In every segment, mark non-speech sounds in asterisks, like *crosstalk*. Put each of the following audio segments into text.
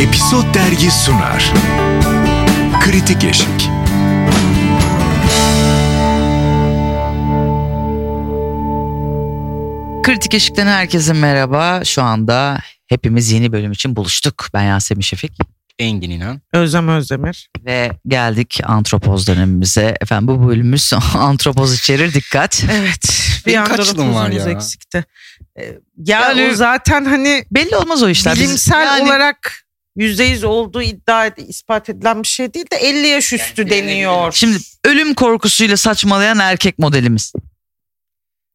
Episod Dergi sunar. Kritik Eşik. Kritik Eşik'ten herkese merhaba. Şu anda hepimiz yeni bölüm için buluştuk. Ben Yasemin Şefik Engin İnan. Özlem Özdemir. ve geldik antropoz dönemimize. Efendim bu bölümümüz *laughs* antropoz içerir dikkat. Evet. Benim anda kaç yılım var dokuzumuz ya? eksikti. Ee, Ya Yani- o zaten hani Belli olmaz o işler. Biz- bilimsel yani olarak yüzde yüz olduğu iddia ed- ispat edilen bir şey değil de 50 yaş üstü deniyor. Şimdi ölüm korkusuyla saçmalayan erkek modelimiz.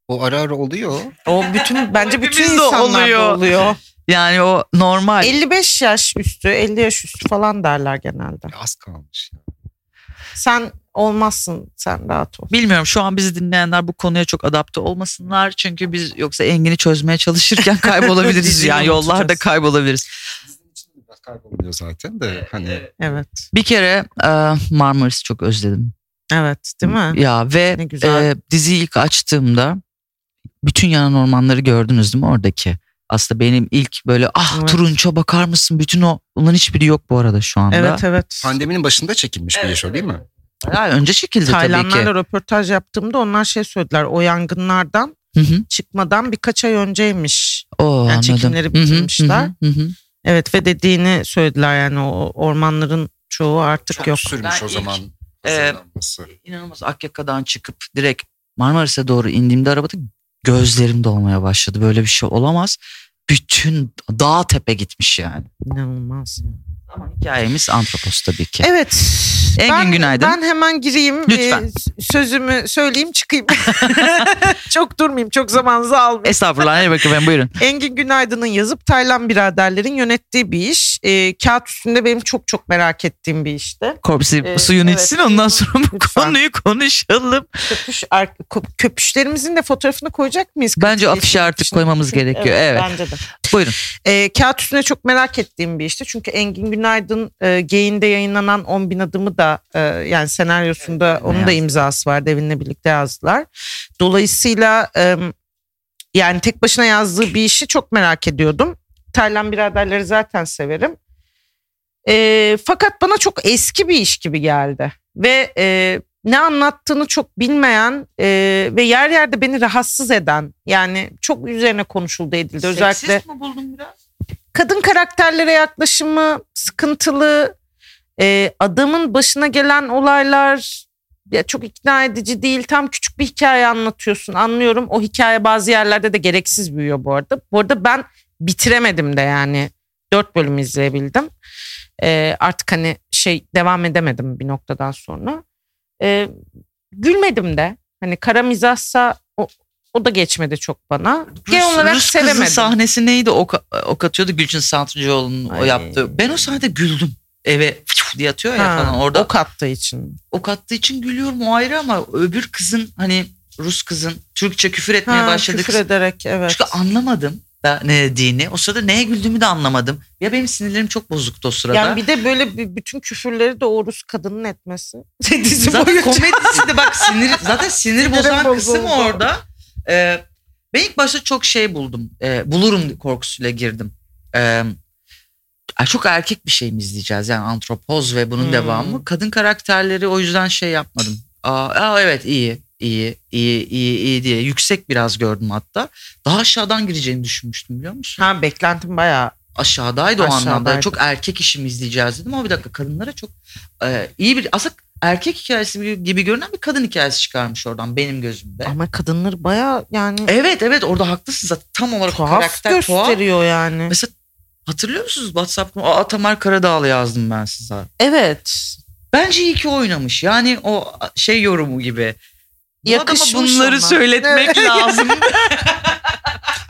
O ara ara oluyor. o bütün bence bütün Hepimizde insanlarda oluyor. oluyor. Yani o normal. 55 yaş üstü, 50 yaş üstü falan derler genelde. Az kalmış. ya. Sen olmazsın, sen rahat ol. Bilmiyorum şu an bizi dinleyenler bu konuya çok adapte olmasınlar. Çünkü biz yoksa Engin'i çözmeye çalışırken *laughs* kaybolabiliriz. Bizi yani yollarda unutacağız. kaybolabiliriz. Biraz kayboluyor zaten de hani Evet. Bir kere e, Marmaris'i çok özledim. Evet, değil mi? Ya ve Ne güzel. e, diziyi ilk açtığımda bütün yanan ormanları gördünüz değil mi oradaki? Aslında benim ilk böyle ah Evet. turunça bakar mısın bütün o onların hiçbiri yok bu arada şu anda. Evet, evet. pandeminin başında çekilmiş bir iş o değil mi? Ya önce çekildi tabii ki. Taylandlarla röportaj yaptığımda onlar şey söylediler. O yangınlardan Hı hı. çıkmadan birkaç ay önceymiş. Oo, Yani anladım. çekimleri Hı hı, bitirmişler. hı hı, hı hı. Evet ve dediğini söylediler yani o ormanların çoğu artık Çok yok. sürmüş Ben o ilk, zaman e, hazırlanması. İnanılmaz Akyaka'dan çıkıp direkt Marmaris'e doğru indiğimde arabada gözlerim dolmaya başladı. Böyle bir şey olamaz. Bütün dağ tepe gitmiş yani. İnanılmaz. ya. Ama hikayemiz antropos tabii ki. Evet. Engin ben, günaydın. Ben hemen gireyim. Lütfen. Ee, sözümü *laughs* söyleyeyim çıkayım. *laughs* çok durmayayım. Çok zamanınızı almayayım. Estağfurullah. Hadi bakayım efendim, buyurun. Engin Günaydın'ın yazıp Taylan biraderlerin yönettiği bir iş. Ee, kağıt üstünde benim çok çok merak ettiğim bir işti. Korpsi Ee, suyun evet. içsin ondan sonra bu Lütfen. konuyu konuşalım. Köpüş, ar- ko- köpüşlerimizin de fotoğrafını koyacak mıyız? Bence Kırk- afişe artık koymamız gerekiyor. Evet. Bence de. Buyurun. Ee, kağıt üstüne çok merak ettiğim bir işti. Çünkü Engin Günaydın e, Geyin'de yayınlanan 10 bin adımı da e, yani senaryosunda onun da yazdı. imzası var. Devin'le birlikte yazdılar. Dolayısıyla e, yani tek başına yazdığı bir işi çok merak ediyordum. Terlan Biraderleri zaten severim. E, fakat bana çok eski bir iş gibi geldi. Ve e, ne anlattığını çok bilmeyen e, ve yer yerde beni rahatsız eden yani çok üzerine konuşuldu edildi. Özellikle mi buldun biraz? kadın karakterlere yaklaşımı sıkıntılı. Ee, adamın başına gelen olaylar ya çok ikna edici değil. Tam küçük bir hikaye anlatıyorsun. Anlıyorum. O hikaye bazı yerlerde de gereksiz büyüyor bu arada. Bu arada ben bitiremedim de yani. Dört bölüm izleyebildim. Ee, artık hani şey devam edemedim bir noktadan sonra. Ee, gülmedim de. Hani kara mizahsa o, o da geçmedi çok bana. Genel olarak Rus kızın sevemedim. sahnesi neydi? Ok, ok atıyordu Gülçin Santrıcıoğlu'nun o Ay. yaptığı. Ben o sahnede güldüm. Eve diye atıyor ya Ha, falan. Orada ok attığı için. ok attığı için gülüyorum o ayrı ama öbür kızın hani Rus kızın Türkçe küfür etmeye Ha, başladığı küfür kız- ederek evet. Çünkü anlamadım da ne dediğini. O sırada neye güldüğümü de anlamadım. Ya benim sinirlerim çok bozuktu o sırada. Yani bir de böyle bir- bütün küfürleri de o Rus kadının etmesi. *laughs* Dizi zaten boyunca. komedisi de bak sinir *laughs* zaten sinir Sinirim bozan kısım bozuldu. orada. Ee, ben ilk başta çok şey buldum. Ee, bulurum korkusuyla girdim. Ee, ay çok erkek bir şey mi izleyeceğiz? Yani antropoz ve bunun Hmm. devamı. Kadın karakterleri o yüzden şey yapmadım. Aa, aa, evet iyi iyi iyi iyi iyi diye yüksek biraz gördüm hatta. Daha aşağıdan gireceğini düşünmüştüm biliyor musun? Ha beklentim bayağı. aşağıdaydı o anlamda. Aşağıdaydı. Çok erkek işimi izleyeceğiz dedim ama bir dakika kadınlara çok e, iyi bir aslında erkek hikayesi gibi görünen bir kadın hikayesi çıkarmış oradan benim gözümde. Ama kadınları bayağı yani Evet evet orada haklısın zaten tam olarak o tuhaf karakter tuhaf. gösteriyor yani. Mesela hatırlıyor musunuz WhatsApp grubu? Aa Tamar Karadağlı yazdım ben size. Evet. Bence iyi ki oynamış. Yani o şey yorumu gibi. Bu adama Yakışmış bunları ona. söyletmek *laughs* Evet. lazım.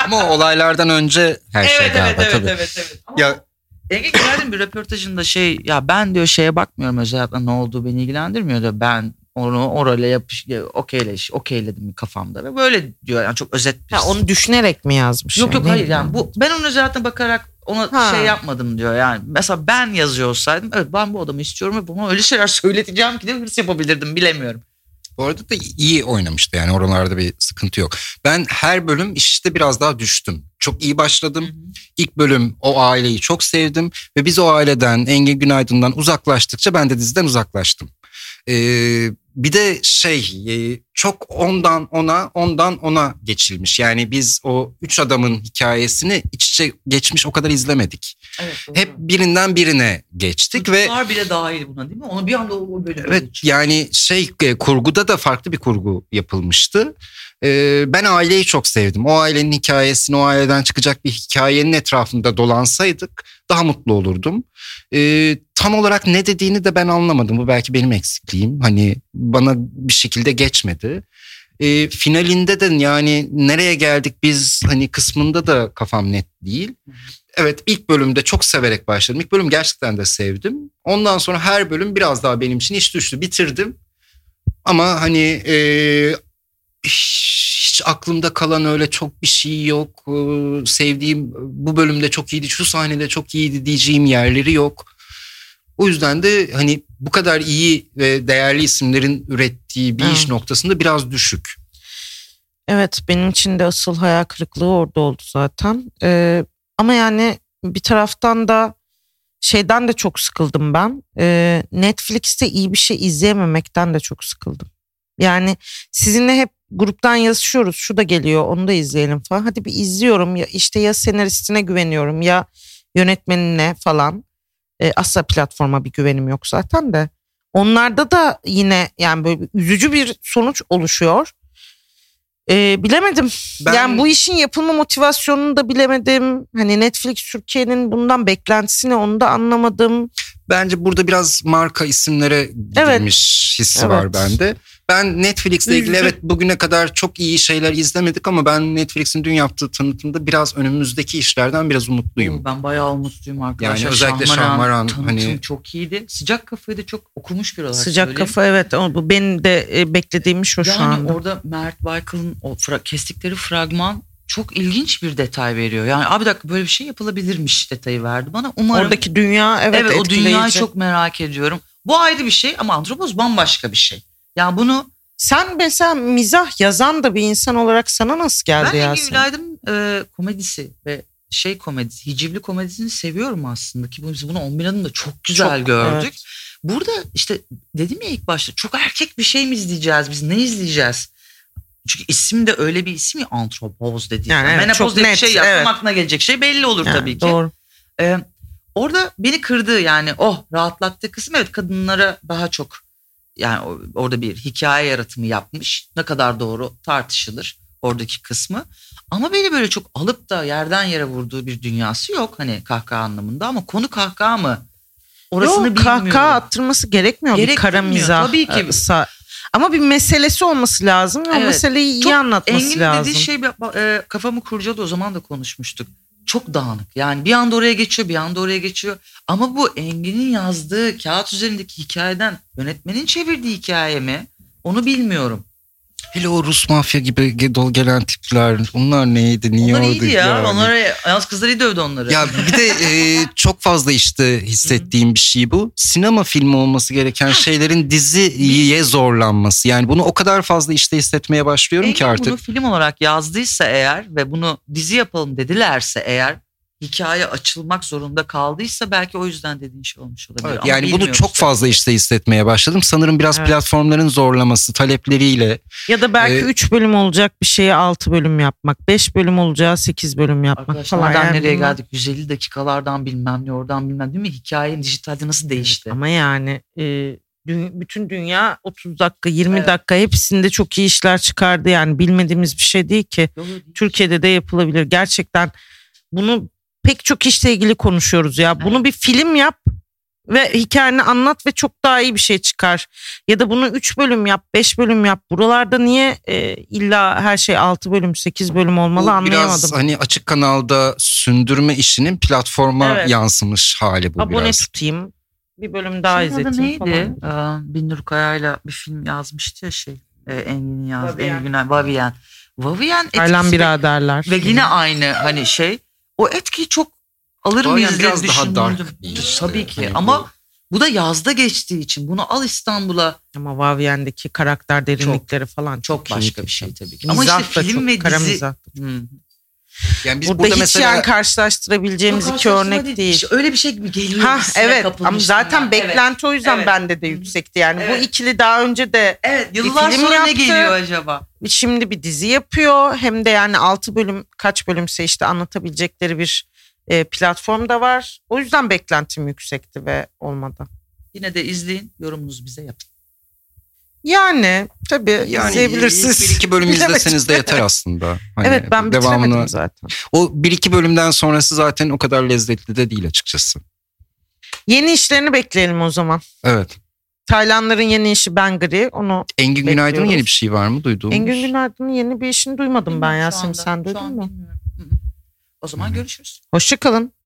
Ama o olaylardan önce her şey evet, evet, galiba evet, tabii. evet, evet. Ya Ege Güler'in bir röportajında şey ya ben diyor şeye bakmıyorum özel hayatta ne olduğu beni ilgilendirmiyor diyor. Ben onu orayla yapış okeyleş okeyledim kafamda ve böyle diyor yani çok özet bir şey. Ha, onu düşünerek mi yazmış? Yok yok Ne hayır bileyim. yani bu ben onun özel hayatına bakarak ona Ha. şey yapmadım diyor yani. Mesela ben yazıyor olsaydım evet ben bu adamı istiyorum ve buna öyle şeyler söyleteceğim ki de hırs yapabilirdim bilemiyorum. bu Bu arada da iyi oynamıştı yani oralarda bir sıkıntı yok. Ben her bölüm işte biraz daha düştüm. Çok iyi başladım. İlk bölüm o aileyi çok sevdim ve biz o aileden Engin Günaydın'dan uzaklaştıkça ben de diziden uzaklaştım. Ee, bir de şey e, çok ondan ona ondan ona geçilmiş. Yani biz o üç adamın hikayesini iç içe geçmiş o kadar izlemedik. Evet, doğru. Hep birinden birine geçtik ve Çocuklar bile dahil buna değil mi? Onu bir anda o böyle Evet yani şey e, kurguda da farklı bir kurgu yapılmıştı. Ee, ben aileyi çok sevdim. O ailenin hikayesini, o aileden çıkacak bir hikayenin etrafında dolansaydık daha mutlu olurdum. Ee, tam olarak ne dediğini de ben anlamadım. Bu belki benim eksikliğim. Hani bana bir şekilde geçmedi. Ee, finalinde de yani nereye geldik biz hani kısmında da kafam net değil. Evet ilk bölümde çok severek başladım. İlk bölüm gerçekten de sevdim. Ondan sonra her bölüm biraz daha benim için iş düştü. Bitirdim. Ama hani e, hiç aklımda kalan öyle çok bir şey yok. Ee, sevdiğim bu bölümde çok iyiydi, şu sahnede çok iyiydi diyeceğim yerleri yok. O yüzden de hani bu kadar iyi ve değerli isimlerin ürettiği bir iş Evet. noktasında biraz düşük. Evet benim için de asıl hayal kırıklığı orada oldu zaten. Ee, ama yani bir taraftan da şeyden de çok sıkıldım ben. Ee, Netflix'te iyi bir şey izleyememekten de çok sıkıldım. Yani sizinle hep gruptan yazışıyoruz. Şu da geliyor onu da izleyelim falan. Hadi bir izliyorum ya işte ya senaristine güveniyorum ya yönetmenine falan. Ee, asla platforma bir güvenim yok zaten de. Onlarda da yine yani böyle bir üzücü bir sonuç oluşuyor. Ee, bilemedim. Ben- Yani bu işin yapılma motivasyonunu da bilemedim. Hani Netflix Türkiye'nin bundan beklentisini onu da anlamadım. Bence burada biraz marka isimlere gidilmiş hissi Evet. var bende. Ben Netflix'le ilgili Üzücü. evet bugüne kadar çok iyi şeyler izlemedik ama ben Netflix'in dün yaptığı tanıtımda biraz önümüzdeki işlerden biraz umutluyum. Ben bayağı umutluyum arkadaşlar. Yani özellikle Şahmaran, tanıtım hani- çok iyiydi. Sıcak kafayı da çok okumuş bir olarak Sıcak söyleyeyim. kafa evet. O, bu benim de e, beklediğim iş o şu yani anda. orada Mert Baykal'ın o fra- kestikleri fragman çok ilginç bir detay veriyor. Yani abi dakika böyle bir şey yapılabilirmiş detayı verdi bana. Umarım Oradaki dünya evet, evet, o dünyayı etkileyici. çok merak ediyorum. Bu ayrı bir şey ama antropoz bambaşka bir şey. Yani bunu Sen mesela mizah yazan da bir insan olarak sana nasıl geldi Ben ya? Engin Günaydın e, komedisi ve şey komedisi, hicivli komedisini seviyorum aslında ki bunu- biz bunu 11 Hanım'da çok güzel Çok, gördük. evet. Burada işte dedim ya ilk başta çok erkek bir şey mi izleyeceğiz biz ne izleyeceğiz? Çünkü isim de öyle bir isim ya antropoz dediği. Yani evet, çok Menopoz dediği net, şey yaptım evet. aklına gelecek şey belli olur Yani tabii ki. Doğru. E, orada beni kırdı yani oh rahatlattı kısım evet kadınlara daha çok yani o- orada bir hikaye yaratımı yapmış. Ne kadar doğru tartışılır oradaki kısmı. Ama beni böyle çok alıp da yerden yere vurduğu bir dünyası yok hani kahkaha anlamında ama konu kahkaha mı? Orasını Yok, bilmiyorum. kahkaha attırması gerekmiyor bir Gerektirmiyor, kara mizah. tabii ki. e, sa- Ama bir meselesi olması lazım ve o Evet. meseleyi iyi Çok anlatması Engin'in lazım. dediği şey bir- e, kafamı kurcaladı o zaman da konuşmuştuk. Çok dağınık yani bir anda oraya geçiyor bir anda oraya geçiyor. Ama bu Engin'in yazdığı kağıt üzerindeki hikayeden yönetmenin çevirdiği hikaye mi? Onu bilmiyorum. Hele o Rus mafya gibi ge- dol gelen tipler onlar neydi niye Onlar orada iyiydi ya. yani? Onlara yalnız kızları iyi dövdü onları. Ya bir de e, çok fazla işte hissettiğim bir şey bu. Sinema filmi olması gereken şeylerin diziye zorlanması. Yani bunu o kadar fazla işte hissetmeye başlıyorum Engin ki artık. E, bunu film olarak yazdıysa eğer ve bunu dizi yapalım dedilerse eğer hikaye açılmak zorunda kaldıysa belki o yüzden dediğin şey olmuş olabilir. Evet, Ama yani bunu bilmiyoruz çok tabii. fazla işte hissetmeye başladım. Sanırım biraz Evet. platformların zorlaması, talepleriyle. Ya da belki Ee, 3 bölüm olacak bir şeyi 6 bölüm yapmak, 5 bölüm olacağı 8 bölüm yapmak Arkadaşlar falan. nereden Yani nereye bunlar- geldik? 150 dakikalardan bilmem ne oradan bilmem değil mi? Hikayenin dijitalde nasıl değişti? Ama yani e, dü- bütün dünya 30 dakika, 20 Evet. dakika hepsinde çok iyi işler çıkardı. Yani bilmediğimiz bir şey değil ki. Türkiye'de de yapılabilir. Gerçekten bunu pek çok işle ilgili konuşuyoruz ya. Bunu Evet. bir film yap ve hikayeni anlat ve çok daha iyi bir şey çıkar. Ya da bunu 3 bölüm yap, 5 bölüm yap. Buralarda niye e, illa her şey 6 bölüm, 8 bölüm olmalı Bu anlayamadım. biraz hani açık kanalda sündürme işinin platforma Evet. yansımış hali bu Abone biraz. tutayım. Bir bölüm daha Şeyin adı izleteyim neydi? falan. Ee, Binnur Kaya'yla bir film yazmıştı ya şey. Ee, Engin'in yazdı. Vavien. Engin'in Vavien. Vavien Taylan etkisi- biraderler. Ve yine aynı hani şey. O etkiyi çok alır Vavien mıyız diye biraz daha düşündüm. dark bir iş. Tabii Evet, ki hani ama bu- Bu da yazda geçtiği için bunu al İstanbul'a Ama Vavyen'deki karakter derinlikleri falan çok, çok başka iyi. bir şey tabii ki. Mizah Ama da işte film çok, ve kara dizi. mizah. Hı. Yani biz Burada, burada, hiç mesela yani karşılaştırabileceğimiz Yok, iki karşılaştırma örnek değil. İşte öyle bir şey gibi geliyor. Ha hissine evet ama kapılmıştım zaten ben. beklenti o yüzden Evet. bende de yüksekti. Yani Evet. bu ikili daha önce de Evet, evet. yıllar Bir film sonra ne yaptı. geliyor acaba? şimdi bir dizi yapıyor. Hem de yani 6 bölüm kaç bölümse işte anlatabilecekleri bir e, platform da var. O yüzden beklentim yüksekti ve olmadı. Yine de izleyin yorumunuzu bize yapın. Yani tabii yani izleyebilirsiniz. ilk bir iki bölüm *laughs* Bilemedim. izleseniz de yeter aslında. Hani evet ben bitiremedim zaten. O bir iki bölümden sonrası zaten o kadar lezzetli de değil açıkçası. Yeni işlerini bekleyelim o zaman. Evet. Taylanların yeni işi Bengri. Onu Engin Günaydın'ın Bekliyoruz. yeni bir şey var mı duyduğumuz? Engin Günaydın'ın yeni bir işini duymadım ben Bilmiyorum şu Yasemin. anda, Sen şu duydun an mu? bilmiyorum. Hı hı. O zaman Hı. görüşürüz. Hoşçakalın.